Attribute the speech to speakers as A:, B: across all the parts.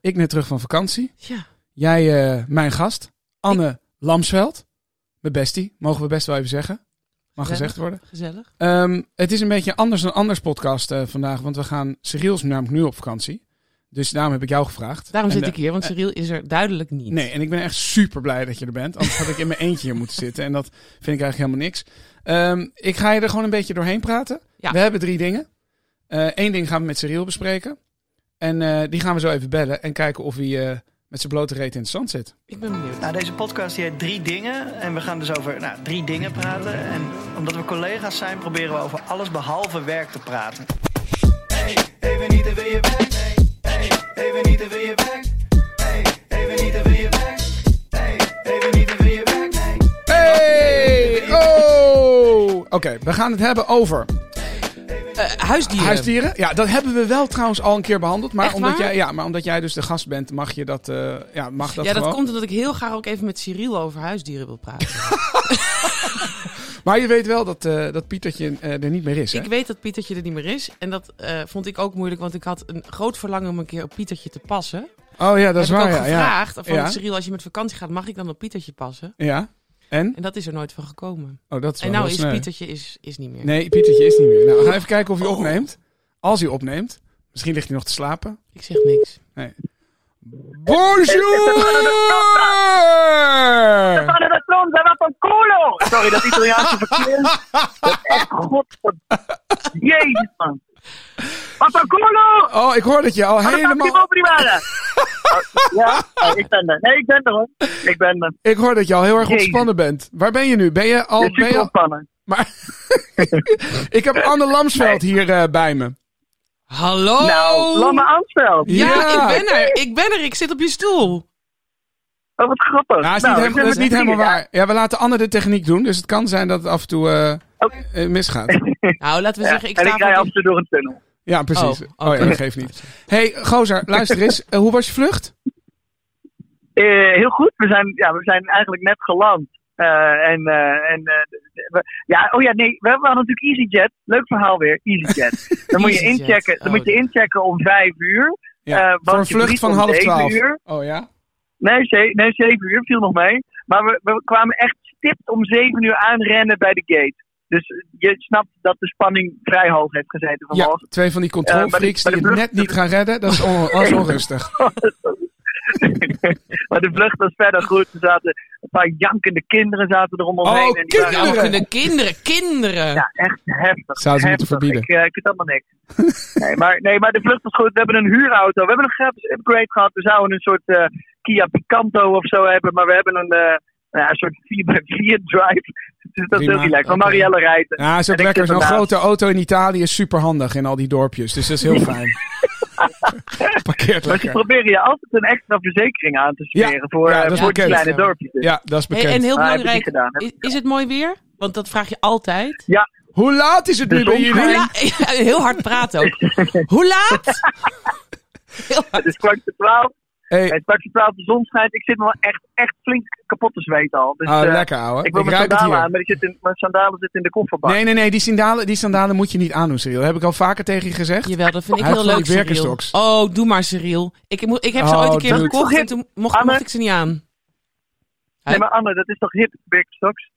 A: Ik net terug van vakantie.
B: Ja.
A: Jij, eh, mijn gast, Anne Lamsveld. Mijn bestie, mogen we best wel even zeggen. Mag
B: Gezellig.
A: gezegd worden.
B: Gezellig.
A: Ehm, het is een beetje anders dan anders podcast eh, vandaag, want we gaan... Cyril is namelijk nu op vakantie. Dus daarom heb ik jou gevraagd.
B: Daarom
A: En,
B: zit
A: eh,
B: ik hier, want Cyril is er duidelijk niet.
A: Nee, en ik ben echt super blij dat je er bent. Anders had ik in mijn eentje hier moeten zitten. En dat vind ik eigenlijk helemaal niks. Ehm, ik ga je er gewoon een beetje doorheen praten.
B: Ja.
A: We hebben drie dingen. Eén ding gaan we met Cyril bespreken. En eh, die gaan we zo even bellen. En kijken of hij eh, met zijn blote reet in het zand zit.
B: Ik ben benieuwd.
C: Nou, deze podcast die heet Drie Dingen. En we gaan dus over nou, drie dingen praten. En omdat we collega's zijn, proberen we over alles behalve werk te praten. Hey, even niet, dan wil je weg. Hey, even niet, dan wil je weg. Hey, even niet, dan wil je weg. Hey, even niet, dan wil je weg. Hey.
A: Hey! Oh! Oké, we gaan het hebben over
B: Eh, huisdieren.
A: huisdieren. Ja, dat hebben we wel trouwens al een keer behandeld. Maar,
B: Echt
A: omdat,
B: waar?
A: jij, ja, maar omdat jij dus de gast bent, mag je dat, eh, ja, mag dat
B: ja, dat
A: gewoon.
B: komt omdat ik heel graag ook even met Cyril over huisdieren wil praten.
A: Maar je weet wel dat, eh, dat Pietertje eh, er niet meer is, hè?
B: ik weet dat Pietertje er niet meer is. En dat eh, vond ik ook moeilijk, want ik had een groot verlangen om een keer op Pietertje te passen.
A: Oh ja, dat is
B: Heb
A: waar.
B: ik ook
A: ja, ja.
B: gevraagd van
A: Ja.
B: Cyril, als je met vakantie gaat, mag ik dan op Pietertje passen?
A: Ja. En?
B: En dat is er nooit van gekomen.
A: Oh, dat is
B: En
A: wel
B: nou
A: heel
B: is
A: sneu.
B: Pietertje Oh. is, is niet meer.
A: Nee, Pietertje is niet meer. Nou, we gaan even kijken of hij opneemt. Als hij opneemt. Misschien ligt hij nog te slapen.
B: Ik zeg niks.
A: Bonjour!
D: Stefano da Tronza va col culo! Sorry, dat Italiaanse verkeer. Dat is echt godverd... Jezus, man. Va col culo!
A: Oh, ik hoor dat je al helemaal...
D: Helemaal... Primada. Oh, ja, oh, ik ben er. Nee, ik ben er hoor. Ik ben er.
A: Ik hoor dat je al heel erg
D: Jezus.
A: ontspannen bent. Waar ben je nu? Ben je al...
D: De
A: Oh, Ben je al-
D: superspannen.
A: maar... ik heb Anne Lamsveld hier eh, bij me.
B: Hallo!
D: Nou, Lamme Amstel.
B: ja,
A: Oh. Ja.
B: ik ben er. Ik ben er. Ik zit op je stoel.
D: Oh, wat grappig.
A: Nou, is niet
D: Nou,
A: helemaal-
D: ik ben
A: dat is niet
D: met
A: helemaal
D: vier,
A: waar. Ja, we laten Anne de techniek doen. Dus het kan zijn dat het af en toe eh,
D: Oké.
A: eh, misgaat.
B: Nou, laten we
D: ja.
B: zeggen, ik
D: en
B: sta
D: ik rij
B: voor-
D: af en toe door een tunnel.
A: Ja, precies. Oh,
B: Oh, oké.
A: ja, dat geeft niet. hey, Gozer, luister eens. Eh, hoe was je vlucht?
D: Eh, heel goed. We zijn, ja, we zijn eigenlijk net geland. Eh, en eh, en eh, we- ja, oh ja, nee, we hadden natuurlijk EasyJet. Leuk verhaal weer, EasyJet. Dan moet je
B: EasyJet.
D: inchecken, dan
B: Oh,
D: moet je inchecken om vijf uur. Eh, want
A: voor een
D: je
A: vlucht
D: vliegt
A: van
D: om
A: half
D: zeven
A: twaalf.
D: uur.
A: Oh ja?
D: Nee, ze, nee, zeven uur viel nog mee. Maar we, we kwamen echt stipt om zeven uur aanrennen bij de gate. Dus je snapt dat de spanning vrij hoog heeft
A: Ja,
D: gezeten vanmorgen.
A: twee van die
D: Eh, maar
A: controlfreaks
D: die- maar
A: die
D: die
A: het net
D: brug-
A: niet gaan redden. Dat is, on- dat is onrustig.
D: maar de vlucht was verder goed. Er zaten een paar jankende kinderen zaten er om ons
A: Oh,
D: heen. En die waren-
A: kinderen!
B: Ja, we kunnen kinderen, kinderen.
D: Ja, echt heftig.
A: Zou ze moeten
D: heftig.
A: verbieden.
D: Ik, eh, ik vind allemaal niks. nee, maar, nee, maar de vlucht was goed. We hebben een huurauto. We hebben een gratis upgrade gehad. We zouden een soort eh, Kia Picanto of zo hebben. Maar we hebben een, eh, nou ja, een soort 4x4 drive. Dus dat is
A: Prima,
D: heel relaxed. Van
A: oké.
D: Marielle rijdt.
A: Ja, is ook
D: En ik
A: lekker.
D: zit
A: Zo'n
D: ernaast.
A: grote auto in Italië is superhandig in al die dorpjes. Dus dat is heel fijn. Parkeert
D: Maar ze
A: lekker.
D: proberen je altijd een extra verzekering aan te smeren voor,
A: ja,
D: eh,
A: dat is
D: voor die
A: bekend.
D: kleine dorpjes. dus.
A: Ja, dat is
B: Hey, en
A: bekend.
B: heel
D: Ah, heb ik niet
B: belangrijk,
D: gedaan, heb ik
B: is, is het mooi weer? Want dat vraag je altijd.
A: Hoe laat is het
D: De
A: nu bij
D: zon
A: jullie?
B: Hoe la- heel hard praten ook. Hoe laat? Heel hard.
D: Het is kwart voor twaalf.
A: Hey,
D: Het kwart voor twaalf de zon schijnt. Ik zit me wel echt, echt flink kapot te zweten al. Dus,
A: ah,
D: eh,
A: lekker ouwe.
D: Ik wil
A: Ik
D: mijn
A: ruik het
D: sandalen aan,
A: hier.
D: maar die zit in, mijn sandalen zitten in de kofferbak.
A: Nee, nee, nee. Die sandalen, die sandalen moet je niet aandoen, Cyril. Dat heb ik al vaker tegen je gezegd.
B: Jawel, dat vind ik
A: Hij
B: heel
A: heeft
B: leuk,
A: van die
B: Cyril.
A: Birkenstocks.
B: Oh, doe maar, Cyril. Ik, moet, ik heb ze
A: Oh,
B: ooit een keer
A: dude.
B: gekocht en toen mocht,
D: Anne.
B: mocht ik ze niet aan.
D: Nee, maar Anne, dat is toch hip, Birkenstocks?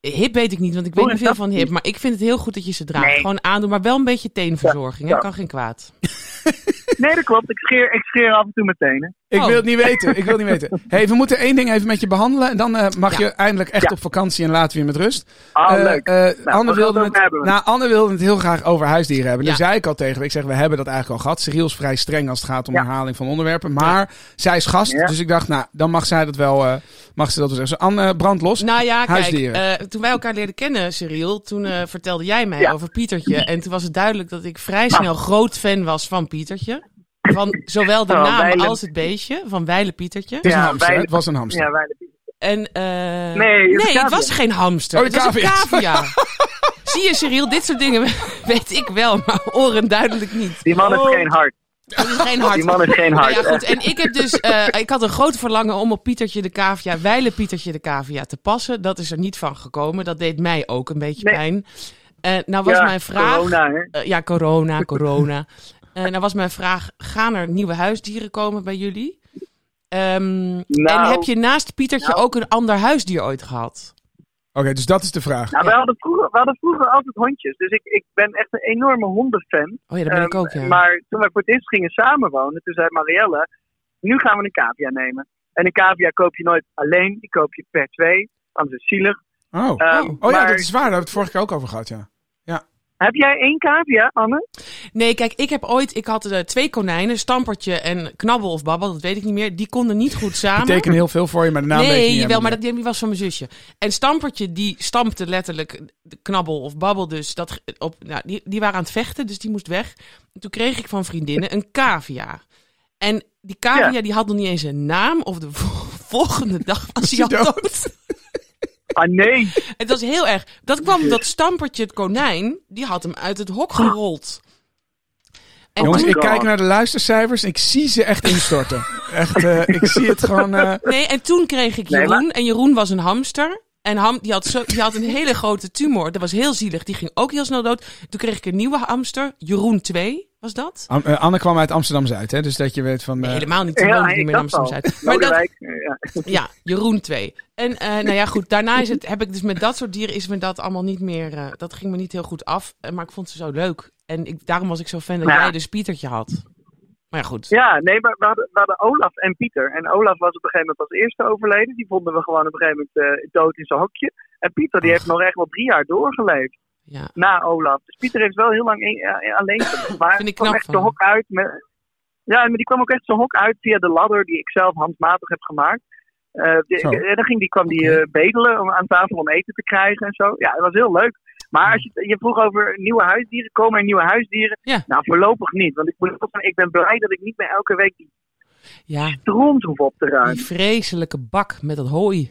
B: Hip weet ik niet, want ik
D: Hoe
B: weet niet
D: is
B: veel
D: dat
B: van hip. Maar ik vind het heel goed dat je ze draagt.
D: Nee.
B: Gewoon aandoen, maar wel een beetje teenverzorging. hè.
D: Ja.
B: kan geen kwaad.
D: Nee, dat klopt. Ik scheer, ik scheer af en toe mijn tenen.
A: Ik
B: Oh.
A: wil het niet weten. Ik wil het niet weten. Hey, we moeten één ding even met je behandelen. En dan eh, mag
B: Ja.
A: je eindelijk echt
D: Ja.
A: op vakantie en laten we je met rust.
D: Ah,
A: Eh,
D: leuk.
A: eh,
D: we gaan
A: Anne,
D: het
A: wilde
D: over
A: het,
D: hebben.
A: nou, Anne wilde het heel graag over huisdieren hebben. Daar
B: Ja.
A: zei ik al tegen. haar. Ik zeg, we hebben dat eigenlijk al gehad. Cyril is vrij streng als het gaat om
D: Ja.
A: herhaling van onderwerpen. Maar zij is gast.
D: Ja.
A: Dus ik dacht, nou, dan mag zij dat wel, eh, mag ze dat wel zeggen. Dus Anne, brand los.
B: Nou ja, kijk,
A: Huisdieren.
B: eh, toen wij elkaar leerden kennen, Cyril, toen eh, vertelde jij mij
D: Ja. Nou.
B: over Pietertje. En toen was het duidelijk dat ik vrij snel groot fan was van Pietertje. Van zowel de
D: Van
B: naam
D: Weile.
B: als het beestje, van Weile Pietertje.
A: het is
D: ja,
A: een hamster. hè?
D: wij-
A: Het was een
B: eh,
A: hamster.
D: Ja, wij
B: En, eh,
D: Nee, het is
B: nee het
D: cavia.
B: was geen hamster.
A: Oh, de
B: het was een
A: cavia.
B: cavia. Zie je, Cyril, dit soort dingen weet ik wel, maar oren duidelijk niet.
D: Die man heeft
B: Oh.
D: geen hart.
B: Het is geen hart.
D: Die man heeft geen hart.
B: Nou ja, goed.
D: Echt.
B: En ik heb dus, eh, ik had een groot verlangen om op Pietertje de Cavia, Weile Pietertje de Cavia te passen. Dat is er niet van gekomen. Dat deed mij ook een beetje
D: Nee.
B: pijn. Eh nou was
D: Ja,
B: mijn vraag.
D: Corona, hè?
B: Eh, ja, corona, corona. Eh, Eh nou was mijn vraag, gaan er nieuwe huisdieren komen bij jullie? Ehm,
D: Nou.
B: en heb je naast Pietertje ook een ander huisdier ooit gehad?
A: dus dat is de vraag.
D: Nou, we, hadden vroeger, we hadden vroeger altijd hondjes. Dus ik, ik ben echt een enorme hondenfan.
B: Oh ja, dat ben ik
D: Ehm,
B: ook, ja.
D: Maar toen wij voor het eerst gingen samenwonen, toen zei Marielle, nu gaan we een cavia nemen. En een cavia koop je nooit alleen, die koop je per twee, anders is het zielig.
A: Oh.
D: Ehm,
A: Oh ja,
D: maar
A: dat is waar. Daar hebben we het vorige keer ook over gehad, ja.
B: Ah,
D: Heb jij één cavia, Anne?
B: Nee, kijk, ik heb ooit, ik had eh, twee konijnen, Stampertje en Knabbel of Babbel, dat weet ik niet meer. Die konden niet goed samen.
A: Betekent heel veel voor je, maar de naam weet ik
B: nee,
A: niet
B: jawel,
A: helemaal
B: maar dat, die was van mijn zusje. En Stampertje, die stampte letterlijk de knabbel of babbel dus. Dat, ge- op, nou, die, die waren aan het vechten, dus die moest weg. En toen kreeg ik van vriendinnen een cavia. En die cavia,
D: Ja.
B: die had nog niet eens een naam. Of de vo- volgende dag was hij al
A: dood.
B: dood.
D: Ah nee,
B: Het was heel erg. Dat kwam omdat Stampertje, het konijn, die had hem uit het hok gerold. En
A: Jongens,
B: toen-
A: ik
D: God.
A: kijk naar de luistercijfers en ik zie ze echt instorten. echt, eh, ik zie het gewoon... eh,
B: Nee, en toen kreeg ik
D: Nee,
B: Jeroen.
D: maar-
B: En Jeroen was een hamster. En ham, die, had zo, die had een hele grote tumor. Dat was heel zielig. Die ging ook heel snel dood. Toen kreeg ik een nieuwe hamster. Jeroen 2 was dat?
A: Am- eh, Anne kwam uit Amsterdam-Zuid, hè? Dus dat je weet van... eh,
B: Helemaal niet. Toen
D: ja,
B: woonde ik niet
D: ik
B: meer in
D: dacht al.
B: Amsterdam Zuid. Maar dat,
D: Lodewijk, eh, ja.
B: ja, Jeroen 2. En eh, nou ja, goed. Daarna is het, heb ik dus met dat soort dieren is me dat allemaal niet meer. eh, dat ging me niet heel goed af. Eh, maar ik vond ze zo leuk. En ik, daarom was ik zo fan dat
D: Ja.
B: jij dus Pietertje had. Maar ja, goed.
D: Ja, nee, maar we hadden, we hadden Olaf en Pieter. En Olaf was op een gegeven moment als eerste overleden. Die vonden we gewoon op een gegeven moment eh, dood in zijn hokje. En Pieter die heeft nog echt wel drie jaar doorgeleefd.
B: Ja.
D: na Olaf. Dus Pieter heeft wel heel lang een- eh, alleen gewoond. Maar
B: Vind ik
D: kwam
B: knap
D: echt
B: van
D: de
B: hem.
D: hok uit. Met, ja, maar die kwam ook echt zijn hok uit via de ladder die ik zelf handmatig heb gemaakt. Eh, die-
A: Zo.
D: en dan ging die, kwam die eh, bedelen om, aan tafel om eten te krijgen en zo. Ja, dat was heel leuk. Maar als je, je vroeg over nieuwe huisdieren. Komen er nieuwe huisdieren?
B: Ja.
D: Nou, voorlopig niet. Want ik, moet ook zeggen, ik ben blij dat ik niet meer elke week die
B: ja,
D: stront hoef op te ruimen.
B: die vreselijke bak met dat hooi.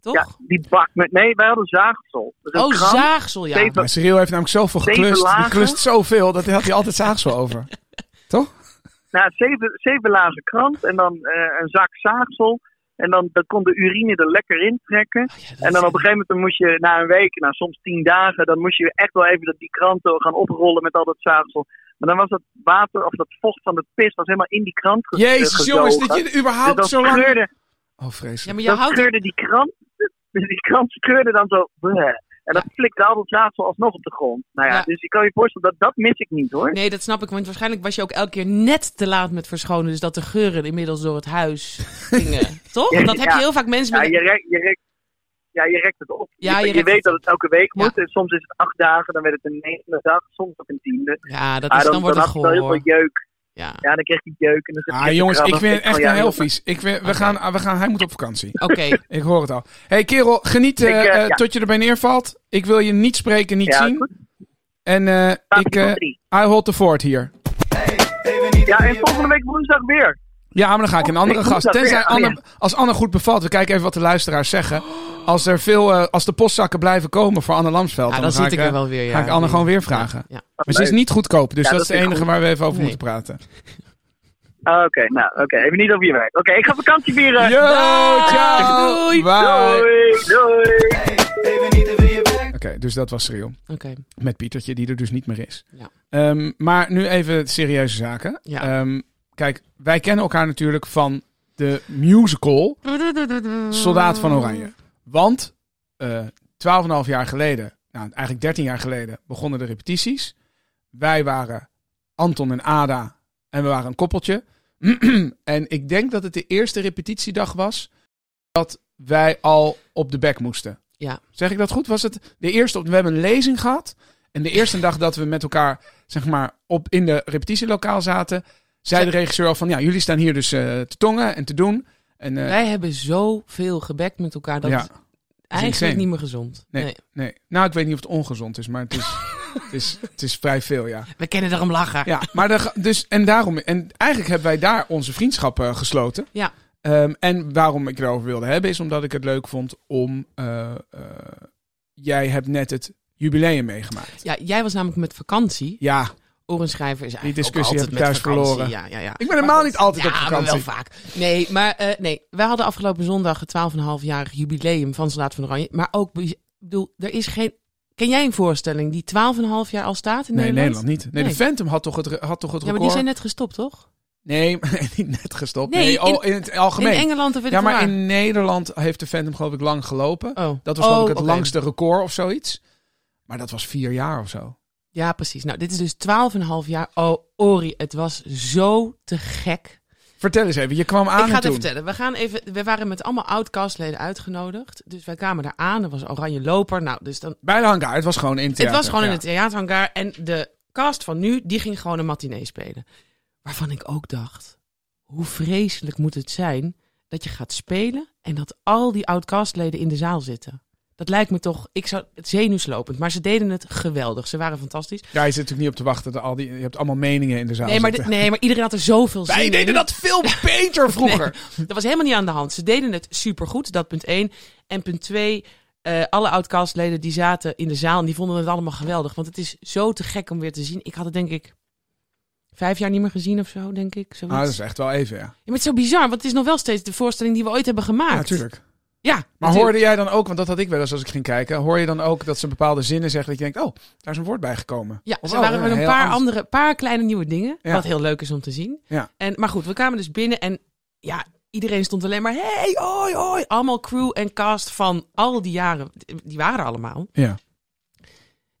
B: Toch?
D: Ja, die bak met... Nee, wij hadden zaagsel. Dus een
B: oh,
D: kram.
B: zaagsel, ja.
D: Steven-
A: Maar Cyril heeft namelijk zoveel
D: Zeven
A: geklust. Die
D: lagen.
A: klust zoveel, dat had hij altijd zaagsel over. Toch?
D: Nou, zeven, zeven lagen krant en dan eh, een zak zaagsel. En dan, dan kon de urine er lekker in trekken.
B: Oh ja, dat
D: En dan
B: is-
D: op een gegeven moment dan moest je na een week, nou, soms tien dagen, dan moest je echt wel even dat die kranten gaan oprollen met al dat zaagsel. Maar dan was dat water of dat vocht van het pis was helemaal in die krant ge- eh,
A: Jezus,
D: gezogen.
A: jongens, dat je
D: Dus
A: überhaupt
D: dan
A: zo lang...
D: scheurde,
A: Oh,
B: Ja,
A: vreselijk.
B: maar je
D: dan
B: houdt...
D: scheurde die krant, die krant scheurde dan zo... bleh. En dat flikte al dat zaagsel alsnog op de grond. Nou ja,
B: Ja.
D: dus ik kan je voorstellen, dat, dat mis ik niet hoor.
B: Nee, dat snap ik, want waarschijnlijk was je ook elke keer net te laat met verschonen. Dus dat de geuren inmiddels door het huis gingen. Toch?
D: Ja.
B: Dat heb je heel vaak mensen
D: Ja,
B: met...
D: je rekt, je rekt, ja, je rekt het op.
B: Ja,
D: je,
B: je
D: je
B: rekt
D: weet
B: het
D: dat het elke week
B: Ja.
D: moet. En soms is het acht dagen, dan werd het een negende dag, soms ook een tiende.
B: Ja, dat
D: Ah,
B: is, dan wordt het
D: had ik wel
B: gehoor.
D: heel veel
B: hoor.
D: jeuk.
B: Ja,
D: Ja, dan kreeg hij jeuk. En dan zat hij
A: Ah,
D: te
A: jongens, ik
D: krabben.
A: vind het
D: van,
A: echt
D: Oh, ja,
A: heel
D: joh,
A: vies. Ik vind, we, gaan, we gaan, hij moet op vakantie.
B: oké.
A: Ik hoor het al. hey, kerel, geniet eh,
D: Ik, eh,
A: eh,
D: ja.
A: tot je erbij neervalt. Ik wil je niet spreken, niet
D: Ja,
A: zien.
D: goed.
A: En eh, ik,
D: Stapje
A: eh,
D: van drie.
A: I hold the fort hier.
C: Even niet
D: Ja,
C: ja,
D: en volgende week woensdag weer.
A: Ja, maar dan ga ik een andere
D: Ik moet
A: gast.
D: dat
A: Tenzij
D: weer- oh,
A: Anne, als Anne goed bevalt, we kijken even wat de luisteraars zeggen. Als, er veel, eh, als de postzakken blijven komen voor Anne Lamsveld,
B: Ja, dan,
A: ga
B: zit ik
A: eh,
B: er wel weer. Ja.
A: ga ik Anne gewoon weer vragen.
B: Ja.
A: Maar ze is niet goedkoop, dus
D: Ja,
A: dat is
D: dat
A: de
D: vind ik
A: enige waar we even over
B: Nee.
A: moeten praten.
D: Ah, Oké, nou, oké. Even niet over je werk. Oké, ik ga vakantie vieren.
A: Yo,
B: Dag,
A: ciao!
B: doei.
A: Bye! Oké,
D: Doei, doei.
C: even niet wil je weg.
A: dus dat was Schreeuw.
B: Oké.
A: Met Pietertje, die er dus niet meer is.
B: Ja.
A: Ehm, maar nu even serieuze zaken.
B: Ja.
A: Ehm, kijk, wij kennen elkaar natuurlijk van de musical Soldaat
B: Mm.
A: van Oranje. Want eh 12,5 jaar geleden, nou eigenlijk 13 jaar geleden, begonnen de repetities. Wij waren Anton en Ada en we waren een koppeltje. en ik denk dat het de eerste repetitiedag was dat wij al op de bek moesten.
B: Ja.
A: Zeg ik dat goed? Was het de eerste? op- We hebben een lezing gehad. En de eerste dag dat we met elkaar zeg maar, op, in de repetitielokaal zaten, zei de regisseur al van ja, jullie staan hier dus eh, te tongen en te doen. En, eh,
B: Wij hebben zoveel gebekt met elkaar. Dat
A: ja.
B: is eigenlijk
A: insane.
B: niet meer gezond.
A: Nee.
B: Nee.
A: Nee. Nou, ik weet niet of het ongezond is, maar het is, het is, het is vrij veel, ja.
B: We kennen daarom lachen.
A: Ja, maar de, dus, en daarom, en eigenlijk hebben wij daar onze vriendschap eh, gesloten.
B: Ja.
A: Ehm, en waarom ik erover wilde hebben, is omdat ik het leuk vond om, eh, eh, jij hebt net het jubileum meegemaakt.
B: Ja, jij was namelijk met vakantie.
A: Ja,
B: Orenschrijver is eigenlijk
A: Die discussie
B: ook
A: heb ik
B: altijd met
A: thuis
B: vakantie.
A: verloren.
B: Ja, ja, ja.
A: ik ben helemaal niet altijd
B: ja,
A: op vakantie.
B: maar wel vaak. Nee, maar eh, nee, wij hadden afgelopen zondag het 12,5-jarig jubileum van Slaat van Oranje. Maar ook, bij- ik bedoel, er is geen Ken jij een voorstelling die 12,5 jaar al staat in
A: Nee,
B: Nederland?
A: Nederland niet. Nee,
B: Nee.
A: de Phantom had toch het, re- had toch het
B: Ja, maar
A: record.
B: die zijn net gestopt, toch?
A: Nee, maar niet net gestopt.
B: Nee,
A: Nee,
B: in-
A: oh, in het algemeen.
B: In Engeland of weet
A: ja,
B: ik
A: maar
B: waar.
A: in Nederland heeft de Phantom geloof ik lang gelopen.
B: Oh.
A: Dat was geloof
B: Oh,
A: ik het
B: oké.
A: langste record of zoiets. Maar dat was vier jaar of zo.
B: Ja, precies. Nou, dit is dus 12,5 jaar. Oh, Ori, het was zo te gek.
A: Vertel eens even, je kwam aan
B: ik ga
A: en
B: het
A: toen.
B: even vertellen. We, gaan even, we waren met allemaal oud-castleden uitgenodigd. Dus wij kwamen daar aan. Er was Oranje Loper. Nou, dus dan,
A: Bij de hangar, het was gewoon in het
B: het
A: theater,
B: was gewoon in
A: ja.
B: het theaterhangar. En de cast van nu, die ging gewoon een matinee spelen. Waarvan ik ook dacht, hoe vreselijk moet het zijn dat je gaat spelen en dat al die oud-castleden in de zaal zitten. Dat lijkt me toch, ik zou het zenuwslopend. Maar ze deden het geweldig. Ze waren fantastisch.
A: Ja, je zit natuurlijk niet op te wachten. dat Al die, je hebt allemaal meningen in de zaal
B: Nee maar,
A: zitten.
B: dit- nee, maar iedereen had er zoveel zin
A: Wij
B: in.
A: deden dat veel beter vroeger.
B: Dat was helemaal niet aan de hand. Ze deden het supergoed, dat punt 1. En punt 2, alle oud-castleden die zaten in de zaal... en die vonden het allemaal geweldig. Want het is zo te gek om weer te zien. Ik had het denk ik vijf jaar niet meer gezien of zo, denk ik. Zoiets.
A: Ah, dat is echt wel even, ja.
B: Ja, maar het is zo bizar, want het is nog wel steeds de voorstelling... die we ooit hebben gemaakt.
A: Ja, natuurlijk.
B: Ja,
A: Maar
B: natuurlijk.
A: hoorde jij dan ook, want dat had ik wel eens als ik ging kijken, hoor je dan ook dat ze bepaalde zinnen zeggen dat je denkt, oh, daar is een woord bij gekomen.
B: Ja,
A: Of,
B: ze
A: oh,
B: waren
A: ja,
B: met een
A: heel
B: paar
A: anders.
B: andere, paar kleine nieuwe dingen.
A: Ja.
B: Wat heel leuk is om te zien.
A: Ja.
B: En, maar goed, we kwamen dus binnen en ja, iedereen stond alleen maar. Hey, oi, oi. Allemaal crew en cast van al die jaren. Die waren er allemaal.
A: Ja.
B: Nou,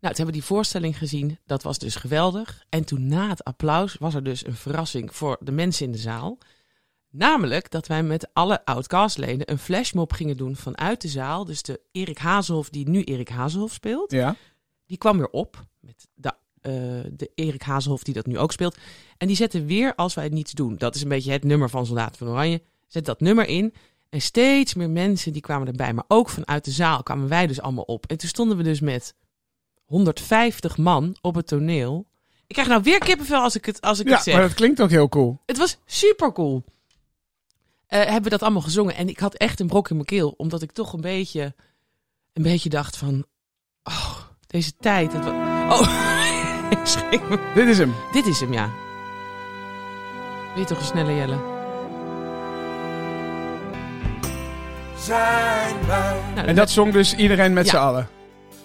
B: toen hebben we die voorstelling gezien. Dat was dus geweldig. En toen na het applaus was er dus een verrassing voor de mensen in de zaal. Namelijk dat wij met alle oud-castleden een flashmob gingen doen vanuit de zaal. Dus de Erik Hazelhoff, die nu Erik Hazelhoff speelt
A: Ja.
B: die kwam weer op met de, eh, de Erik Hazelhoff die dat nu ook speelt. En die zette weer als wij niets doen. Dat is een beetje het nummer van Soldaten van Oranje. Zet dat nummer in. En steeds meer mensen die kwamen erbij. Maar ook vanuit de zaal kwamen wij dus allemaal op. En toen stonden we dus met 150 man op het toneel. Ik krijg nou weer kippenvel als ik het, als ik
A: Ja,
B: het zeg.
A: maar dat klinkt ook heel cool.
B: Het was super cool. hebben we dat allemaal gezongen. En ik had echt een brok in mijn keel. Omdat ik toch een beetje, een beetje dacht van... Oh, deze tijd. Het wa- oh, ik schrik me.
A: Dit is hem.
B: Dit is hem, ja. Wil je toch een snelle Jelle?
A: En dat zong dus iedereen met
B: Ja.
A: z'n allen.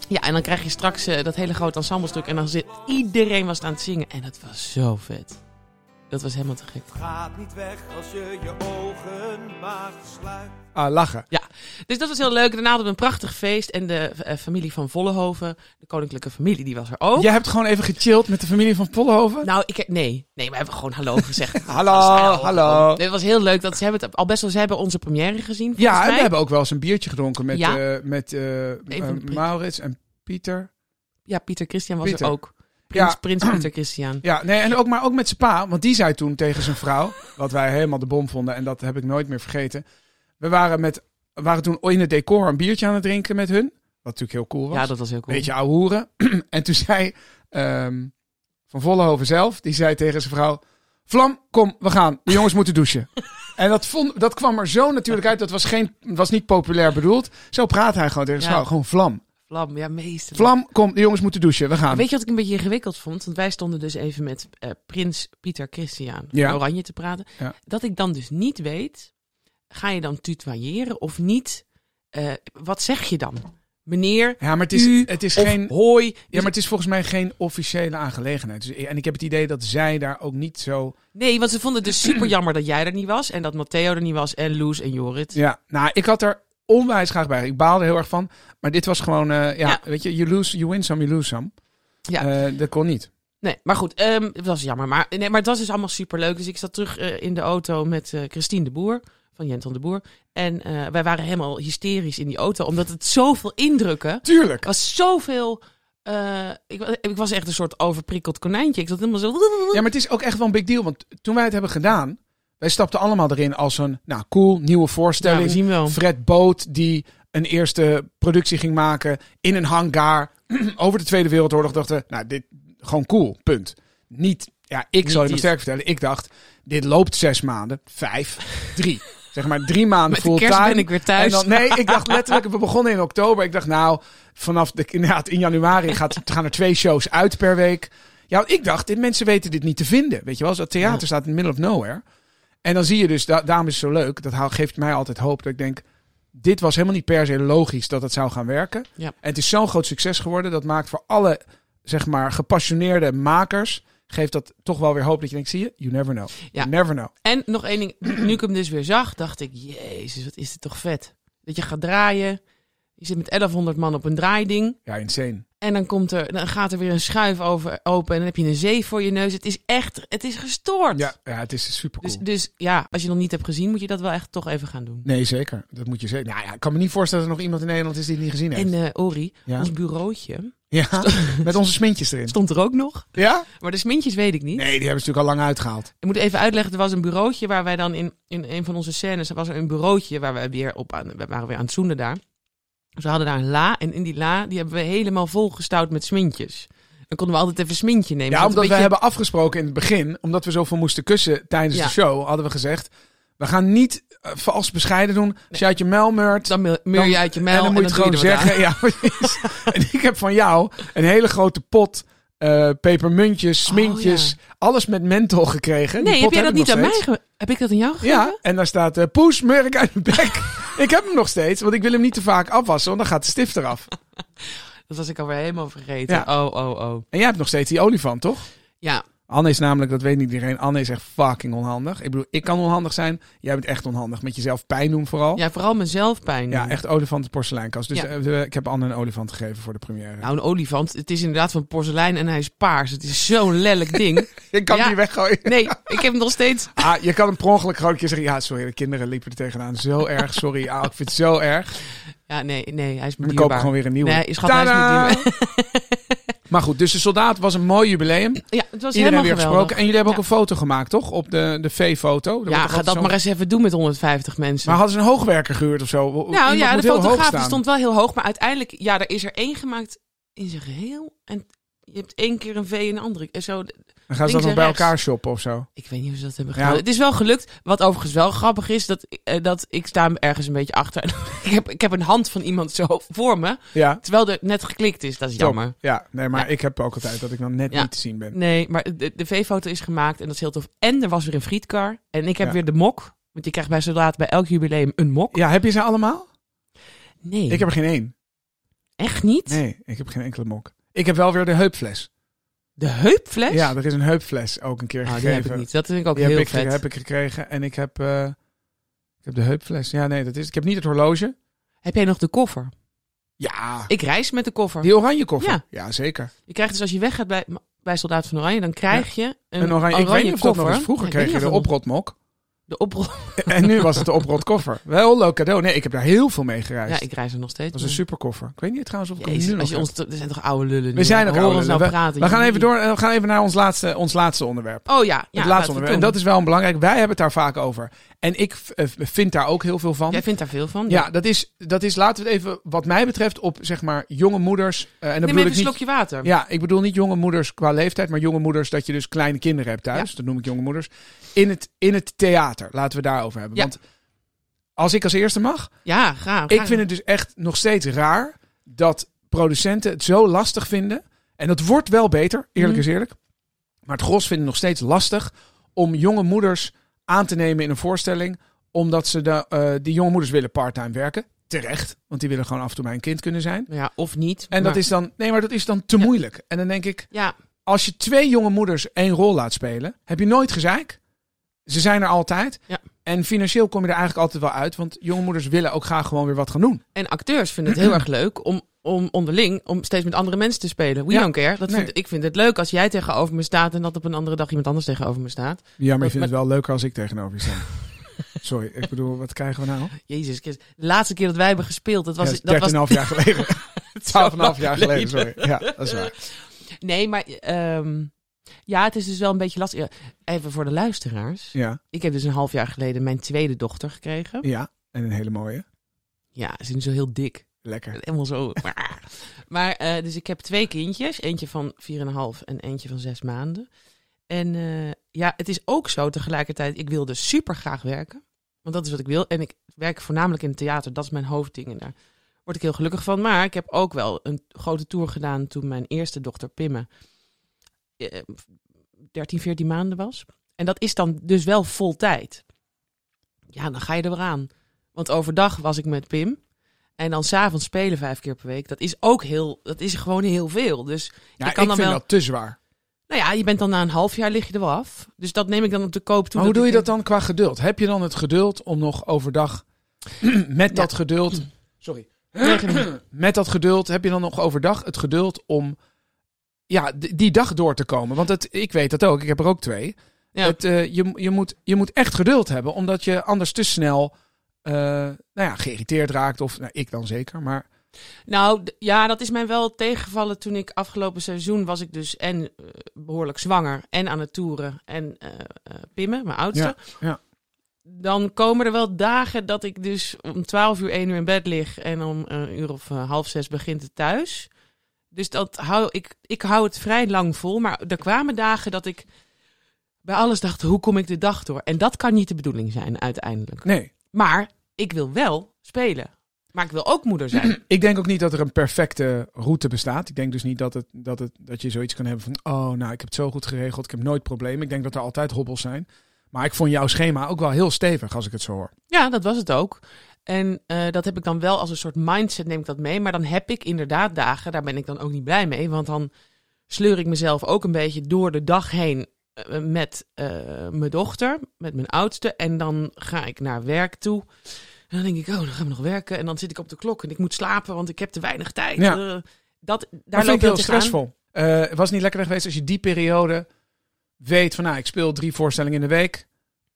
B: Ja, en dan krijg je straks eh, dat hele grote ensemblestuk. En dan zit iedereen was aan het zingen. En dat was zo vet. Dat was helemaal te gek.
E: Gaat niet weg als je je ogen maar sluit.
A: Ah, lachen.
B: Ja, dus dat was heel leuk. Daarna hadden we een prachtig feest. En de eh, familie van Vollenhoven, de koninklijke familie, die was er ook.
A: Jij hebt gewoon even gechilled met de familie van Pollenhoven?
B: Nou, ik, nee. Nee, we hebben gewoon hallo gezegd.
A: Hallo,
B: Vast,
A: hallo.
B: Dit was heel leuk. Dat ze hebben het al best wel. Ze hebben onze première gezien. volgens
A: ja, en
B: mij.
A: we hebben ook wel eens een biertje gedronken met,
B: Ja.
A: eh, met eh,
B: de
A: eh,
B: prins.
A: Maurits en Pieter.
B: ja Pieter Christian was
A: Pieter.
B: er ook. Prins,
A: Ja.
B: Prins Pieter Christian.
A: Ja, nee, en ook, maar ook met zijn pa. Want die zei toen tegen zijn vrouw, wat wij helemaal de bom vonden. En dat heb ik nooit meer vergeten. We waren, met, we waren toen in het decor een biertje aan het drinken met hun. Wat natuurlijk heel cool was.
B: Ja, dat was heel cool.
A: Beetje ouwe hoeren. en toen zei ehm, Van Vollenhoven zelf, die zei tegen zijn vrouw... Vlam, kom, we gaan. De jongens moeten douchen. En dat, vond, dat kwam er zo natuurlijk uit. Dat was, geen, was niet populair bedoeld. Zo praat hij gewoon tegen zijn
B: Ja.
A: vrouw. Gewoon vlam.
B: Vlam, ja, meester.
A: Vlam, kom, de jongens moeten douchen. We gaan.
B: Weet je wat ik een beetje ingewikkeld vond? Want wij stonden dus even met eh, Prins Pieter Christian van
A: Ja.
B: Oranje te praten.
A: Ja.
B: Dat ik dan dus niet weet, ga je dan tutoyeren of niet? Eh, wat zeg je dan? Meneer,
A: Ja, maar het is,
B: u
A: het is
B: of
A: geen...
B: hoi.
A: Ja, maar het is volgens mij geen officiële aangelegenheid. Dus, en ik heb het idee dat zij daar ook niet zo...
B: Nee, want ze vonden het dus super jammer dat jij er niet was. En dat Matteo er niet was. En Loes en Jorrit.
A: Ja, nou, ik had er onwijs graag bij. Ik baalde heel erg van. Maar dit was gewoon, eh, ja,
B: Ja.
A: weet je, you, lose, you win some, you lose some.
B: Ja.
A: Eh, dat kon niet.
B: Nee, maar goed. ehm, het was jammer. Maar, nee, maar dat is allemaal super leuk. Dus ik zat terug eh, in de auto met eh, Christine de Boer. Van Jenton de Boer. En eh, wij waren helemaal hysterisch in die auto. Omdat het zoveel indrukken.
A: Tuurlijk.
B: Er was zoveel... eh, ik, wa- ik was echt een soort overprikkeld konijntje. Ik zat helemaal zo...
A: Ja, maar het is ook echt wel een big deal. Want toen wij het hebben gedaan, wij stapten allemaal erin als een, nou, cool, nieuwe
B: Ja, we
A: voorstelling.
B: zien wel.
A: Fred Boot die een eerste productie ging maken in een hangar over de Tweede Wereldoorlog. Dachten, nou, dit gewoon cool, punt. Niet, ja, ik zal je nog
B: dit.
A: sterk vertellen. Ik dacht, dit loopt zes maanden, vijf, drie. Zeg maar drie maanden
B: Met de
A: fulltime.
B: kerst ben ik weer thuis.
A: En dan, nee, ik dacht letterlijk, we begonnen in oktober. Ik dacht, nou, vanaf de, inderdaad, in januari gaat, gaan er twee shows uit per week. Ja, want ik dacht, dit, mensen weten dit niet te vinden. Weet je wel, dat theater
B: Ja.
A: staat in the middle of nowhere. En dan zie je dus, da- daarom is het zo leuk. Dat hou- geeft mij altijd hoop dat ik denk, dit was helemaal niet per se logisch dat het zou gaan werken.
B: Ja.
A: En het is zo'n groot succes geworden. Dat maakt voor alle zeg maar, gepassioneerde makers. Geeft dat toch wel weer hoop dat je denkt, zie je? You never know.
B: Ja.
A: You never know.
B: En nog één ding, nu ik hem dus weer zag, dacht ik, jezus, wat is dit toch vet. Dat je gaat draaien, je zit met 1100 man op een draaiding.
A: Ja, insane.
B: En dan, komt er, dan gaat er weer een schuif over, open en dan heb je een zee voor je neus. Het is echt, het is gestoord.
A: Ja, ja het is super cool.
B: Dus, dus ja, als je nog niet hebt gezien, moet je dat wel echt toch even gaan doen.
A: Nee, zeker. Dat moet je zeker. Nou ja, ik kan me niet voorstellen dat er nog iemand in Nederland is die het niet gezien heeft.
B: En eh Ori,
A: Ja.
B: ons bureautje,
A: Ja, met onze smintjes erin.
B: stond er ook nog.
A: Ja?
B: Maar de smintjes weet ik niet.
A: Nee, die hebben ze natuurlijk al lang uitgehaald.
B: Ik moet even uitleggen, er was een bureautje waar wij dan in, in een van onze scènes, er was er een bureautje waar we weer op aan, we waren weer aan het zoenen daar. Dus we hadden daar een la en in die la, die hebben we helemaal volgestouwd met smintjes. Dan konden we altijd even smintje nemen.
A: Ja,
B: zodat
A: omdat we
B: het een beetje-
A: hebben afgesproken in het begin, omdat we zoveel moesten kussen tijdens
B: Ja.
A: de show, hadden we gezegd, we gaan niet eh, vals bescheiden doen. Als je uit je mel meurt,
B: Dan meel- meel je
A: dan-
B: uit je
A: en
B: mijl
A: dan moet je het gewoon
B: doe je er wat
A: zeggen. Ja, precies. en ik heb van jou een hele grote pot eh, pepermuntjes, smintjes, alles met menthol gekregen.
B: aan.
A: Die
B: Oh, Nee, heb
A: pot
B: jij
A: heb
B: dat
A: ik
B: niet
A: nog
B: aan mij
A: steeds.
B: ge... Heb ik dat aan jou gegeven?
A: Ja, en daar staat eh, poes, merk uit mijn bek. ik heb hem nog steeds, want ik wil hem niet te vaak afwassen, want dan gaat de stift eraf.
B: Dat was ik alweer helemaal vergeten. Oh, oh, oh.
A: En jij hebt nog steeds die olifant, toch?
B: Ja,
A: Anne is namelijk, dat weet niet iedereen, Anne is echt fucking onhandig. Ik bedoel, ik kan onhandig zijn, jij bent echt onhandig. Met jezelf pijn doen vooral. Ja,
B: ja vooral mezelf pijn. doen.
A: Oh. echt olifanten porseleinkast. Dus
B: Ja.
A: eh, we- ik heb Anne een olifant gegeven voor de première.
B: Nou, een olifant, het is inderdaad van porselein en hij is paars. Het is zo'n lelijk ding.
A: ik kan
B: ja.
A: die weggooien.
B: Nee, ik heb hem nog steeds.
A: Ah, je kan hem per ongeluk gewoon een keer zeggen, ja sorry, de kinderen liepen er tegenaan. Zo erg, sorry. Ah, ik vind het zo erg.
B: Ja, nee, nee, hij is me
A: We kopen
B: dierbaar.
A: gewoon weer een nieuwe.
B: Nee, schat, hij is
A: Tadaa!
B: me dierbaar.
A: Maar goed, dus de soldaat was een mooi jubileum.
B: Ja, het was
A: Iedereen
B: helemaal
A: weer
B: geweldig.
A: gesproken. En jullie hebben ook
B: Ja.
A: een foto gemaakt, toch? Op de, de V-foto. Er wordt toch
B: Ja, ga
A: altijd
B: dat
A: zo'n-
B: maar eens even doen met 150 mensen.
A: Maar hadden ze een hoogwerker gehuurd of zo?
B: nou
A: Iemand
B: ja,
A: moet
B: de
A: heel hoog
B: fotograaf die
A: staan.
B: stond wel heel hoog. Maar uiteindelijk, ja, er is er één gemaakt in zijn geheel. En je hebt één keer een V en een andere. En zo,
A: Dan gaan ze dat nog
B: links en
A: bij
B: rechts.
A: elkaar shoppen of zo.
B: ik weet niet hoe ze dat hebben
A: Ja.
B: gedaan. Het is wel gelukt. Wat overigens wel grappig is, dat, eh, dat ik sta hem ergens een beetje achter. ik, heb, ik heb een hand van iemand zo voor me.
A: Ja.
B: Terwijl er net geklikt is. Dat is
A: Top.
B: jammer.
A: Ja, nee, maar
B: Ja.
A: ik heb ook altijd dat ik dan net
B: Ja.
A: niet te zien ben.
B: Nee, maar de, de V-foto is gemaakt en dat is heel tof. En er was weer een frietkar. En ik heb
A: Ja.
B: weer de mok. Want je krijgt bij soldaat bij elk jubileum een mok.
A: Ja, heb je ze allemaal?
B: Nee,
A: Ik heb er geen één.
B: echt niet.
A: Nee, ik heb geen enkele mok. Ik heb wel weer de heupfles.
B: De heupfles?
A: Ja, er is een heupfles ook een keer
B: Oh, die
A: gegeven.
B: heb ik niet. Dat vind ik ook
A: Die
B: heel
A: heb ik,
B: vet.
A: heb ik gekregen en ik heb, eh, ik heb de heupfles. Ja, nee, dat is. Ik heb niet het horloge.
B: Heb jij nog de koffer?
A: Ja,
B: Ik reis met de koffer.
A: die oranje koffer. Ja,
B: Ja.
A: zeker.
B: Je krijgt dus als je weggaat bij, bij Soldaat van Oranje, dan krijg je een,
A: Een oranje, ik weet niet of dat
B: koffer.
A: nog eens. Vroeger
B: Ja, ik
A: kreeg
B: weet
A: je de
B: niet of dat nog-
A: oprotmok.
B: De oprol.
A: en nu was het de oprotkoffer. Wel een leuk cadeau. Nee, ik heb daar heel veel mee gereisd.
B: Ja, ik reis er nog steeds.
A: Dat was
B: mee.
A: een superkoffer. Ik weet niet trouwens of ik hem
B: Jezus,
A: nu nog
B: als je
A: heb.
B: ons, er zijn toch oude lullen nu?
A: We zijn ook
B: Hoor
A: ouder.
B: ons nou
A: we,
B: praten.
A: we gaan
B: jongen.
A: even door. eh, We gaan even naar ons laatste, ons laatste onderwerp.
B: Oh ja, ja
A: het
B: laten we
A: laatste onderwerp. En
B: doen.
A: dat is wel een belangrijk. Wij hebben het daar vaak over. En ik eh, vind daar ook heel veel van.
B: Jij vindt daar veel van?
A: ja, dat is, dat is, laten we het even, wat mij betreft, op zeg maar jonge moeders. eh, en dat
B: Neem even
A: bedoel
B: een
A: ik niet.
B: slokje water.
A: Ja, ik bedoel niet jonge moeders qua leeftijd, maar jonge moeders dat je dus kleine kinderen hebt thuis. Dat noem ik jonge moeders. In het, in het theater, laten we daarover hebben.
B: Ja.
A: Want als ik als eerste mag.
B: Ja, graag.
A: Ik
B: graag.
A: vind het dus echt nog steeds raar dat producenten het zo lastig vinden. En dat wordt wel beter, eerlijk
B: Mhm.
A: is eerlijk. Maar het gros vindt het nog steeds lastig om jonge moeders aan te nemen in een voorstelling. Omdat ze de, eh, die jonge moeders willen parttime werken. Terecht, want die willen gewoon af en toe mijn kind kunnen zijn.
B: Ja, of niet.
A: En dat
B: maar-
A: is dan, nee, maar dat is dan te moeilijk. En dan denk ik,
B: Ja,
A: als je twee jonge moeders één rol laat spelen, heb je nooit gezeik. Ze zijn er altijd.
B: Ja.
A: En financieel kom je er eigenlijk altijd wel uit, want jonge moeders willen ook graag gewoon weer wat gaan doen.
B: en acteurs vinden het heel erg leuk om, om onderling om steeds met andere mensen te spelen. We
A: Ja,
B: don't care. Dat
A: nee.
B: vind, ik vind het leuk als jij tegenover me staat en dat op een andere dag iemand anders tegenover me staat.
A: Ja, maar je
B: Wat-
A: vindt het wel leuker als ik tegenover je sta. Sorry, ik bedoel, wat krijgen we nou?
B: Jezus Christus. De laatste keer dat wij hebben gespeeld, dat was...
A: ja,
B: dat was
A: 13,5 jaar geleden. 12,5 jaar geleden, sorry. Ja, dat is waar.
B: Nee, maar... ehm, ja, het is dus wel een beetje lastig. Ja, Even voor de luisteraars.
A: Ja,
B: Ik heb dus een half jaar geleden mijn tweede dochter gekregen.
A: ja. En een hele mooie.
B: Ja, ze is nu zo heel dik.
A: Lekker.
B: Helemaal zo. Maar, eh, dus ik heb twee kindjes. Eentje van 4,5 en eentje van 6 maanden. En eh, ja, het is ook zo tegelijkertijd. Ik wilde super graag werken. Want dat is wat ik wil. En ik werk voornamelijk in het theater. Dat is mijn hoofdding. En daar word ik heel gelukkig van. Maar ik heb ook wel een grote tour gedaan toen mijn eerste dochter Pimme eh, 13, 14 maanden was. En dat is dan dus wel vol tijd. Ja, dan ga je er weer aan. Want overdag was ik met Pim. En dan s'avonds spelen vijf keer per week. Dat is ook heel, dat is gewoon heel veel. Dus
A: Ja,
B: je
A: ik
B: kan
A: vind
B: dan wel.
A: dat te zwaar.
B: Nou ja, je bent dan na een half jaar lig je er wel af. Dus dat neem ik dan op de koop toe.
A: Maar hoe doe je
B: ik
A: dat dan qua geduld? Heb je dan het geduld om nog overdag met dat geduld... Sorry. met dat geduld heb je dan nog overdag het geduld om ja, d- die dag door te komen? Want het, ik weet dat ook, ik heb er ook twee.
B: Ja.
A: Het, eh, je, je, moet, je moet echt geduld hebben, omdat je anders te snel eh, nou ja, geïrriteerd raakt. Of nou, ik dan zeker, maar
B: Nou, d- ja, dat is mij wel tegengevallen toen ik afgelopen seizoen was ik dus en eh, behoorlijk zwanger en aan het toeren en eh eh, Pimme, mijn oudste.
A: Ja, ja.
B: Dan komen er wel dagen dat ik dus om 12 uur, 1 uur in bed lig en om een uur of eh, half zes begint het thuis. Dus dat hou ik, ik hou het vrij lang vol. Maar er kwamen dagen dat ik bij alles dacht, hoe kom ik de dag door? En dat kan niet de bedoeling zijn uiteindelijk.
A: nee.
B: Maar ik wil wel spelen. Maar ik wil ook moeder zijn.
A: Ik denk ook niet dat er een perfecte route bestaat. Ik denk dus niet dat, het, dat, het, dat je zoiets kan hebben van... oh, nou, ik heb het zo goed geregeld, ik heb nooit problemen. Ik denk dat er altijd hobbels zijn. Maar ik vond jouw schema ook wel heel stevig, als ik het zo hoor.
B: Ja, dat was het ook. En eh, dat heb ik dan wel als een soort mindset, neem ik dat mee. Maar dan heb ik inderdaad dagen, daar ben ik dan ook niet blij mee. Want dan sleur ik mezelf ook een beetje door de dag heen eh, met eh, mijn dochter, met mijn oudste. En dan ga ik naar werk toe. En dan denk ik, oh, dan gaan we nog werken. En dan zit ik op de klok en ik moet slapen, want ik heb te weinig tijd.
A: Ja.
B: Eh, dat, daar
A: Daar vind
B: loop je
A: ik heel
B: tegenaan.
A: stressvol. Eh, Het was niet lekkerder geweest als je die periode weet van... nou, ik speel drie voorstellingen in de week.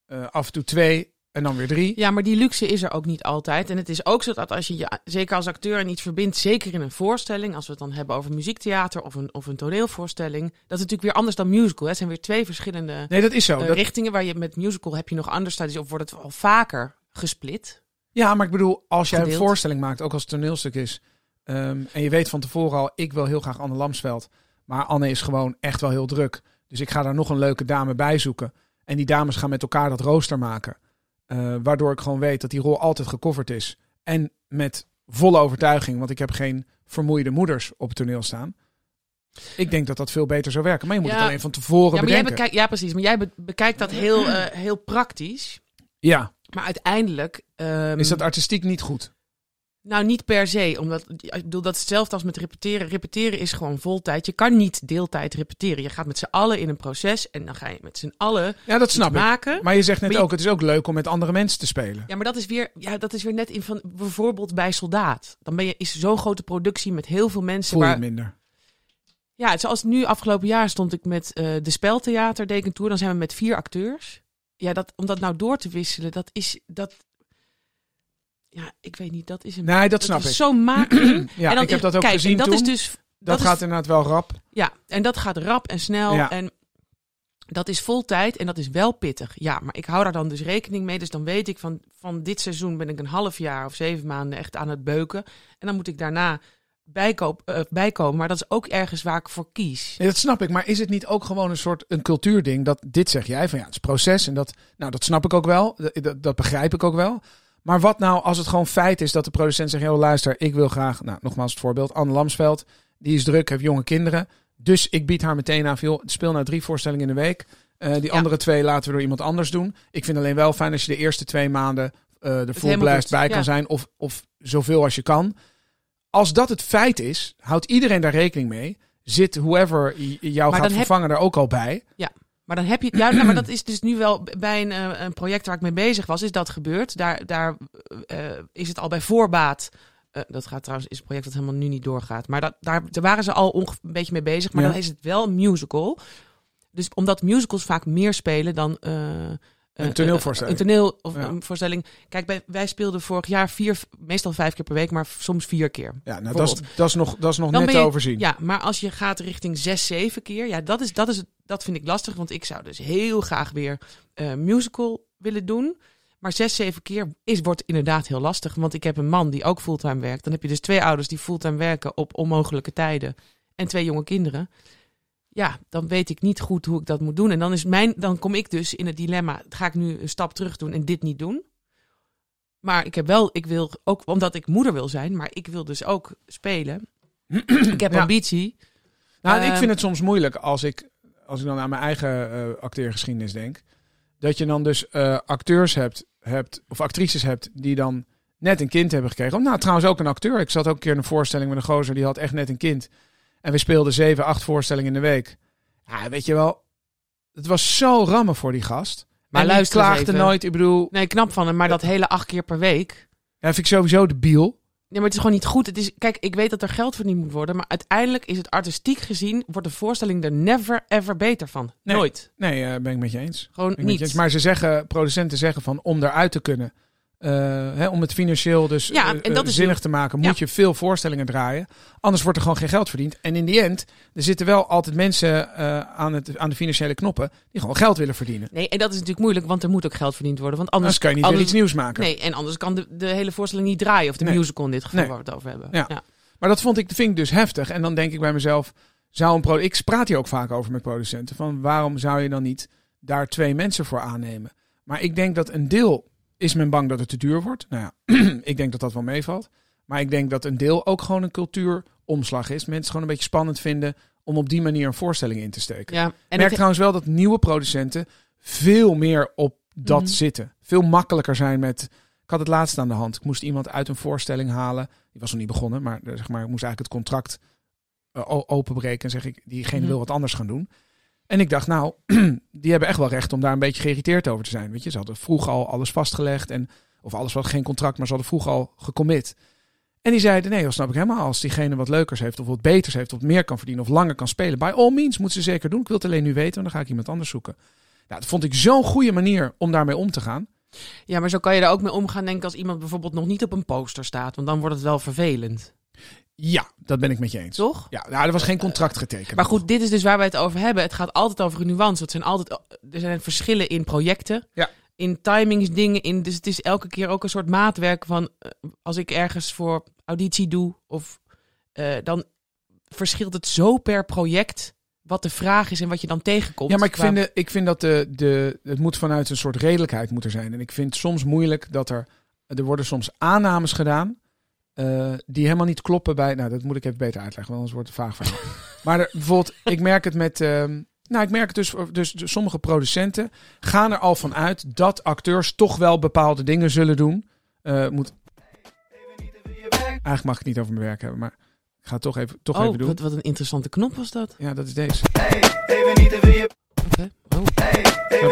A: eh, af en toe twee en dan weer drie.
B: Ja, maar die luxe is er ook niet altijd. En het is ook zo dat als je, je zeker als acteur aan iets verbindt, zeker in een voorstelling, als we het dan hebben over muziektheater of een, of een toneelvoorstelling, dat is natuurlijk weer anders dan musical. Hè. Het zijn weer twee verschillende
A: Nee, dat is zo.
B: eh,
A: Dat,
B: richtingen waar je met musical heb je nog anders studies of wordt het al vaker gesplit.
A: ja, maar ik bedoel, als jij
B: Gedeeld.
A: een voorstelling maakt... ook als het toneelstuk is... ehm, en je weet van tevoren al, ik wil heel graag Anne Lamsveld... maar Anne is gewoon echt wel heel druk. Dus ik ga daar nog een leuke dame bij zoeken. En die dames gaan met elkaar dat rooster maken. Eh, waardoor ik gewoon weet dat die rol altijd gecoverd is. En met volle overtuiging, want ik heb geen vermoeide moeders op het toneel staan. Ik denk dat dat veel beter zou werken. Maar je moet
B: Ja.
A: het alleen van tevoren
B: Ja, maar jij
A: bedenken.
B: bekijkt, ja, precies. Maar jij be- bekijkt dat heel, eh, heel praktisch.
A: Ja,
B: Maar uiteindelijk. ehm,
A: is dat artistiek niet goed?
B: Nou, niet per se. Omdat, ik bedoel, dat is hetzelfde als met repeteren. Repeteren is gewoon voltijd. Je kan niet deeltijd repeteren. Je gaat met z'n allen in een proces en dan ga je met z'n allen
A: Ja, dat snap
B: iets
A: ik.
B: maken.
A: Ah, Maar je zegt net
B: Maar je-
A: ook, het is ook leuk om met andere mensen te spelen.
B: Ja, maar dat is weer, ja, dat is weer net in van bijvoorbeeld bij Soldaat. Dan ben je is zo'n grote productie met heel veel mensen.
A: Voel je
B: Waar,
A: het minder.
B: ja, zoals nu afgelopen jaar stond ik met eh, de Speltheater, deed ik een tour. Dan zijn we met vier acteurs. Ja, dat, om dat nou door te wisselen, dat is dat. Ja, ik weet niet, dat is een.
A: Nee, dat snap
B: is
A: ik.
B: zo'n making.
A: Ja,
B: en dan
A: ik heb
B: is-
A: dat ook
B: kijk, en
A: gezien
B: dat
A: toen.
B: Is dus, dat,
A: dat
B: is
A: gaat inderdaad wel rap.
B: Ja, en dat gaat rap en snel.
A: Ja.
B: En dat is vol tijd en dat is wel pittig. Ja, maar ik hou daar dan dus rekening mee. Dus dan weet ik van, van dit seizoen ben ik een half jaar of zeven maanden echt aan het beuken. En dan moet ik daarna bijkoop, eh, bijkomen. Maar dat is ook ergens waar ik voor kies.
A: Nee, dat snap ik. Maar is het niet ook gewoon een soort een cultuurding? Dat dit zeg jij van ja, het is proces. En dat, nou, dat snap ik ook wel. Dat, dat, dat begrijp ik ook wel. Maar wat nou als het gewoon feit is dat de producent zegt: joh, luister, ik wil graag. Nou, nogmaals het voorbeeld: Anne Lamsveld. Die is druk, heeft jonge kinderen. Dus ik bied haar meteen aan: van, joh, speel nou drie voorstellingen in de week. Eh, die
B: Ja.
A: andere twee laten we door iemand anders doen. Ik vind alleen wel fijn als je de eerste twee maanden eh er full
B: helemaal
A: blast
B: doet,
A: bij
B: ja.
A: kan zijn. Of, of zoveel als je kan. Als dat het feit is, houdt iedereen daar rekening mee. Zit whoever i- jou
B: dan
A: gaat
B: heb-
A: vervangen daar ook al bij.
B: Maar dan heb je. Ja, nou, maar dat is dus nu wel b- bij een, eh, een project waar ik mee bezig was, is dat gebeurd. Daar, daar eh, eh, is het al bij voorbaat. eh, dat gaat trouwens, is een project dat helemaal nu niet doorgaat. Maar dat, daar, daar waren ze al onge- een beetje mee bezig. Maar
A: Ja.
B: dan is het wel een musical. Dus omdat musicals vaak meer spelen dan. eh, eh,
A: Een toneelvoorstelling.
B: Een toneel of
A: Ja.
B: een voorstelling. Kijk, bij, wij speelden vorig jaar vier, meestal vijf keer per week, maar soms vier keer.
A: Ja, nou, dat, is, dat is nog, dat is nog
B: Dan
A: net
B: ben
A: te
B: je-
A: overzien.
B: Ja, maar als je gaat richting zes, zeven keer, ja, dat, is, dat, is, het- dat vind ik lastig. Want ik zou dus heel graag weer eh musical willen doen. Maar zes, zeven keer is, wordt inderdaad heel lastig. Want ik heb een man die ook fulltime werkt. Dan heb je dus twee ouders die fulltime werken op onmogelijke tijden. En twee jonge kinderen. Ja, dan weet ik niet goed hoe ik dat moet doen. En dan, is mijn, dan kom ik dus in het dilemma. Ga ik nu een stap terug doen en dit niet doen? Maar ik heb wel, ik wil ook, omdat ik moeder wil zijn, maar ik wil dus ook spelen. ik heb
A: Ja.
B: ambitie.
A: Nou, en ik
B: Ehm,
A: vind het soms moeilijk als ik, als ik dan aan mijn eigen eh, acteergeschiedenis denk. Dat je dan dus eh, acteurs hebt hebt, of actrices hebt, die dan net een kind hebben gekregen. Nou, trouwens ook een acteur. Ik zat ook een keer in een voorstelling met een gozer, die had echt net een kind. En we speelden zeven, acht voorstellingen in de week. Ja, weet je wel, het was zo rammen voor die gast.
B: Maar
A: en die
B: luister eens
A: klaagde
B: even.
A: nooit, ik bedoel,
B: Nee, knap van hem, maar dat hele acht keer per week.
A: ja, vind ik sowieso de biel.
B: Nee, maar het is gewoon niet goed. Het is, kijk, ik weet dat er geld verdiend moet worden, maar uiteindelijk is het artistiek gezien, wordt de voorstelling er never ever beter van.
A: Nee.
B: Nooit.
A: Nee, eh, ben ik met je eens.
B: Gewoon
A: Ik weet
B: niet.
A: het, Maar ze zeggen, producenten zeggen van om daaruit te kunnen. eh, hè, om het financieel dus
B: Ja,
A: eh,
B: en dat
A: eh,
B: is
A: zinnig te maken, moet je veel voorstellingen draaien. Anders wordt er gewoon geen geld verdiend. En in die end, er zitten wel altijd mensen eh, aan, het, aan de financiële knoppen die gewoon geld willen verdienen.
B: Nee, en dat is natuurlijk moeilijk, want er moet ook geld verdiend worden. Want anders
A: Anders Nou, kan je niet
B: anders,
A: weer iets nieuws maken.
B: Nee, en anders kan de, de hele voorstelling niet draaien. Of de
A: Nee.
B: musical in dit geval,
A: Nee.
B: waar we het over hebben.
A: Ja. Maar dat vond ik, vind ik dus heftig. En dan denk ik bij mezelf, zou een pro ik praat hier ook vaak over met producenten. Van waarom zou je dan niet daar twee mensen voor aannemen? Maar ik denk dat een deel is men bang dat het te duur wordt. Nou ja, ik denk dat dat wel meevalt. Maar ik denk dat een deel ook gewoon een cultuuromslag is. Mensen gewoon een beetje spannend vinden om op die manier een voorstelling in te steken.
B: Ja,
A: Ik
B: en
A: merk
B: het-
A: trouwens wel dat nieuwe producenten veel meer op dat
B: Mhm.
A: zitten. Veel makkelijker zijn met. Ik had het laatst aan de hand. Ik moest iemand uit een voorstelling halen. Die was nog niet begonnen, maar eh, zeg maar, ik moest eigenlijk het contract eh, o- openbreken. En zeg ik, diegene
B: Mhm.
A: wil wat anders gaan doen. En ik dacht, nou, die hebben echt wel recht om daar een beetje geïrriteerd over te zijn. Weet je, ze hadden vroeg al alles vastgelegd. En, of alles wat geen contract, maar ze hadden vroeg al gecommit. En die zeiden, nee, dat snap ik helemaal. Als diegene wat leukers heeft, of wat beters heeft, of meer kan verdienen, of langer kan spelen. By all means, moet ze zeker doen. Ik wil het alleen nu weten, want dan ga ik iemand anders zoeken. Nou, dat vond ik zo'n goede manier om daarmee om te gaan.
B: ja, maar zo kan je er ook mee omgaan, denk ik, als iemand bijvoorbeeld nog niet op een poster staat. Want dan wordt het wel vervelend,
A: Ja, dat ben ik met je eens.
B: toch?
A: Ja, nou, er was geen contract getekend.
B: Maar goed, dit is dus waar wij het over hebben. Het gaat altijd over een nuance. Het zijn altijd, er zijn verschillen in projecten,
A: Ja.
B: in timingsdingen. In, dus het is elke keer ook een soort maatwerk van eh, als ik ergens voor auditie doe, of, eh, dan verschilt het zo per project wat de vraag is en wat je dan tegenkomt.
A: Ja, maar ik
B: Qua-
A: vind, de- ik vind dat de, de, het moet vanuit een soort redelijkheid moeten zijn. En ik vind het soms moeilijk dat er, er worden soms aannames gedaan eh, die helemaal niet kloppen bij... Nou, dat moet ik even beter uitleggen, want anders wordt het een vaag verhaal. maar er, bijvoorbeeld, ik merk het met... ehm, nou, ik merk het dus, dus de- sommige producenten gaan er al van uit dat acteurs toch wel bepaalde dingen zullen doen. Eh, moet, eigenlijk mag ik het niet over mijn werk hebben, maar ik ga het toch even, toch
B: oh,
A: even doen.
B: wat, wat een interessante knop was dat.
A: Ja, dat is deze.
B: Oké. Oh.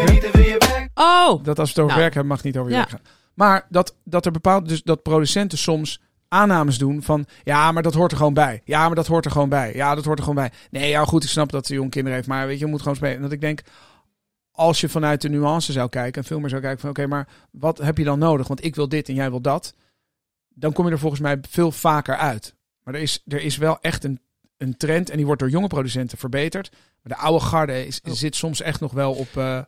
A: Snap je?
B: Oh,
A: Dat als we het over
B: Nou.
A: werk hebben, mag het niet over
B: Ja.
A: werk gaan. Maar dat, dat er bepaald, dus dat producenten soms aannames doen van ja, maar dat hoort er gewoon bij. Ja, maar dat hoort er gewoon bij. Ja, dat hoort er gewoon bij. Nee, ja, goed, ik snap dat ze jong kinderen heeft, maar weet je, je moet gewoon spelen. En dat ik denk, als je vanuit de nuance zou kijken en veel meer zou kijken van oké, maar wat heb je dan nodig? Want ik wil dit en jij wil dat. Dan kom je er volgens mij veel vaker uit. Maar er is, er is wel echt een, een trend en die wordt door jonge producenten verbeterd. Maar de oude garde is,
B: Oh.
A: zit soms echt nog wel op, eh,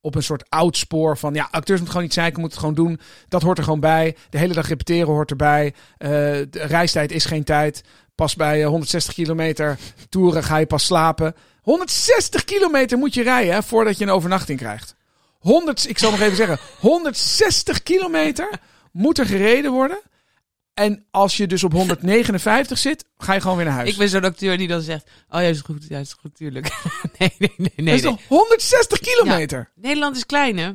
A: op een soort oud spoor van ja, acteurs moeten gewoon niet zeiken, moeten het gewoon doen. Dat hoort er gewoon bij. De hele dag repeteren hoort erbij. Eh, de reistijd is geen tijd. Pas bij eh, 160 kilometer toeren ga je pas slapen. 160 kilometer moet je rijden hè, voordat je een overnachting krijgt. 100, ik zal nog even zeggen, 160 kilometer moet er gereden worden. En als je dus op 159 zit, ga je gewoon weer naar huis.
B: ik ben zo'n acteur die dan zegt, oh ja, is goed, ja, is goed, tuurlijk. nee, nee, nee, nee.
A: dat is
B: nee.
A: toch 160 kilometer?
B: Nederland is klein, hè?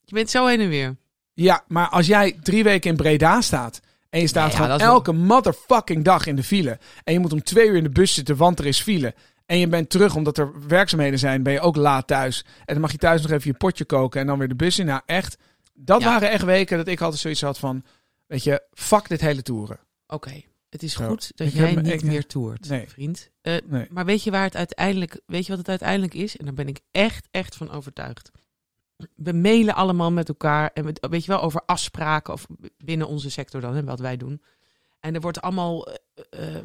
B: Je bent zo heen en weer.
A: Ja, maar als jij drie weken in Breda staat. En je staat
B: ja,
A: gewoon
B: dat is wel-
A: elke motherfucking dag in de file. En je moet om twee uur in de bus zitten, want er is file. En je bent terug omdat er werkzaamheden zijn. Ben je ook laat thuis. En dan mag je thuis nog even je potje koken en dan weer de bus in. Nou, echt. Dat
B: Ja.
A: waren echt weken dat ik altijd zoiets had van. Weet je, fuck dit hele toeren.
B: Oké, het is
A: Zo.
B: goed dat
A: Ik
B: jij
A: heb me-
B: niet
A: ik-
B: meer toert,
A: nee.
B: vriend. Eh,
A: Nee.
B: Maar weet je waar het uiteindelijk, weet je wat het uiteindelijk is? En daar ben ik echt, echt van overtuigd. We mailen allemaal met elkaar en we- weet je wel over afspraken of binnen onze sector dan, hè, wat wij doen. En er wordt allemaal, eh, eh, eh,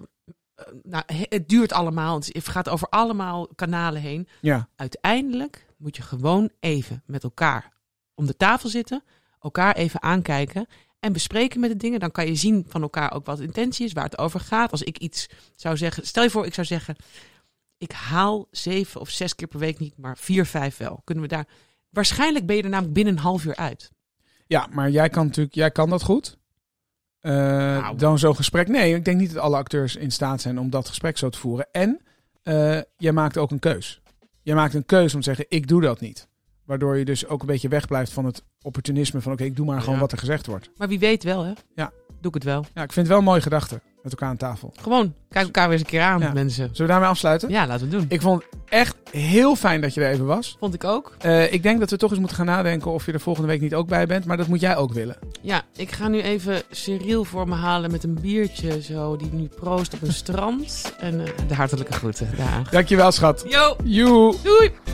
B: nou, he- het duurt allemaal, het gaat over allemaal kanalen heen.
A: Ja.
B: Uiteindelijk moet je gewoon even met elkaar om de tafel zitten, elkaar even aankijken en bespreken met de dingen. Dan kan je zien van elkaar ook wat de intentie is, waar het over gaat. Als ik iets zou zeggen, stel je voor, ik zou zeggen: ik haal zeven of zes keer per week niet, maar vier, vijf wel. Kunnen we daar. Waarschijnlijk ben je er namelijk binnen een half uur uit.
A: Ja, maar jij kan natuurlijk, jij kan dat goed. Eh,
B: Nou.
A: Dan zo'n gesprek. Nee, ik denk niet dat alle acteurs in staat zijn om dat gesprek zo te voeren. En eh, jij maakt ook een keus. Jij maakt een keus om te zeggen, ik doe dat niet. Waardoor je dus ook een beetje wegblijft van het opportunisme van oké, ik doe maar gewoon
B: Ja.
A: wat er gezegd wordt.
B: Maar wie weet wel, hè?
A: Ja.
B: Doe ik het wel.
A: Ja, ik vind het wel een mooie gedachte met elkaar aan tafel.
B: Gewoon, kijk elkaar weer eens een keer aan,
A: Ja.
B: mensen.
A: Zullen we daarmee afsluiten?
B: Ja, laten we het doen.
A: Ik vond het echt heel fijn dat je er even was.
B: Vond ik ook.
A: Eh, ik denk dat we toch eens moeten gaan nadenken of je er volgende week niet ook bij bent. Maar dat moet jij ook willen.
B: Ja, ik ga nu even Cyril voor me halen met een biertje zo. Die nu proost op een strand. En eh, de hartelijke groeten. Daag.
A: Dankjewel, schat.
B: Yo,
A: Joe.
B: doei!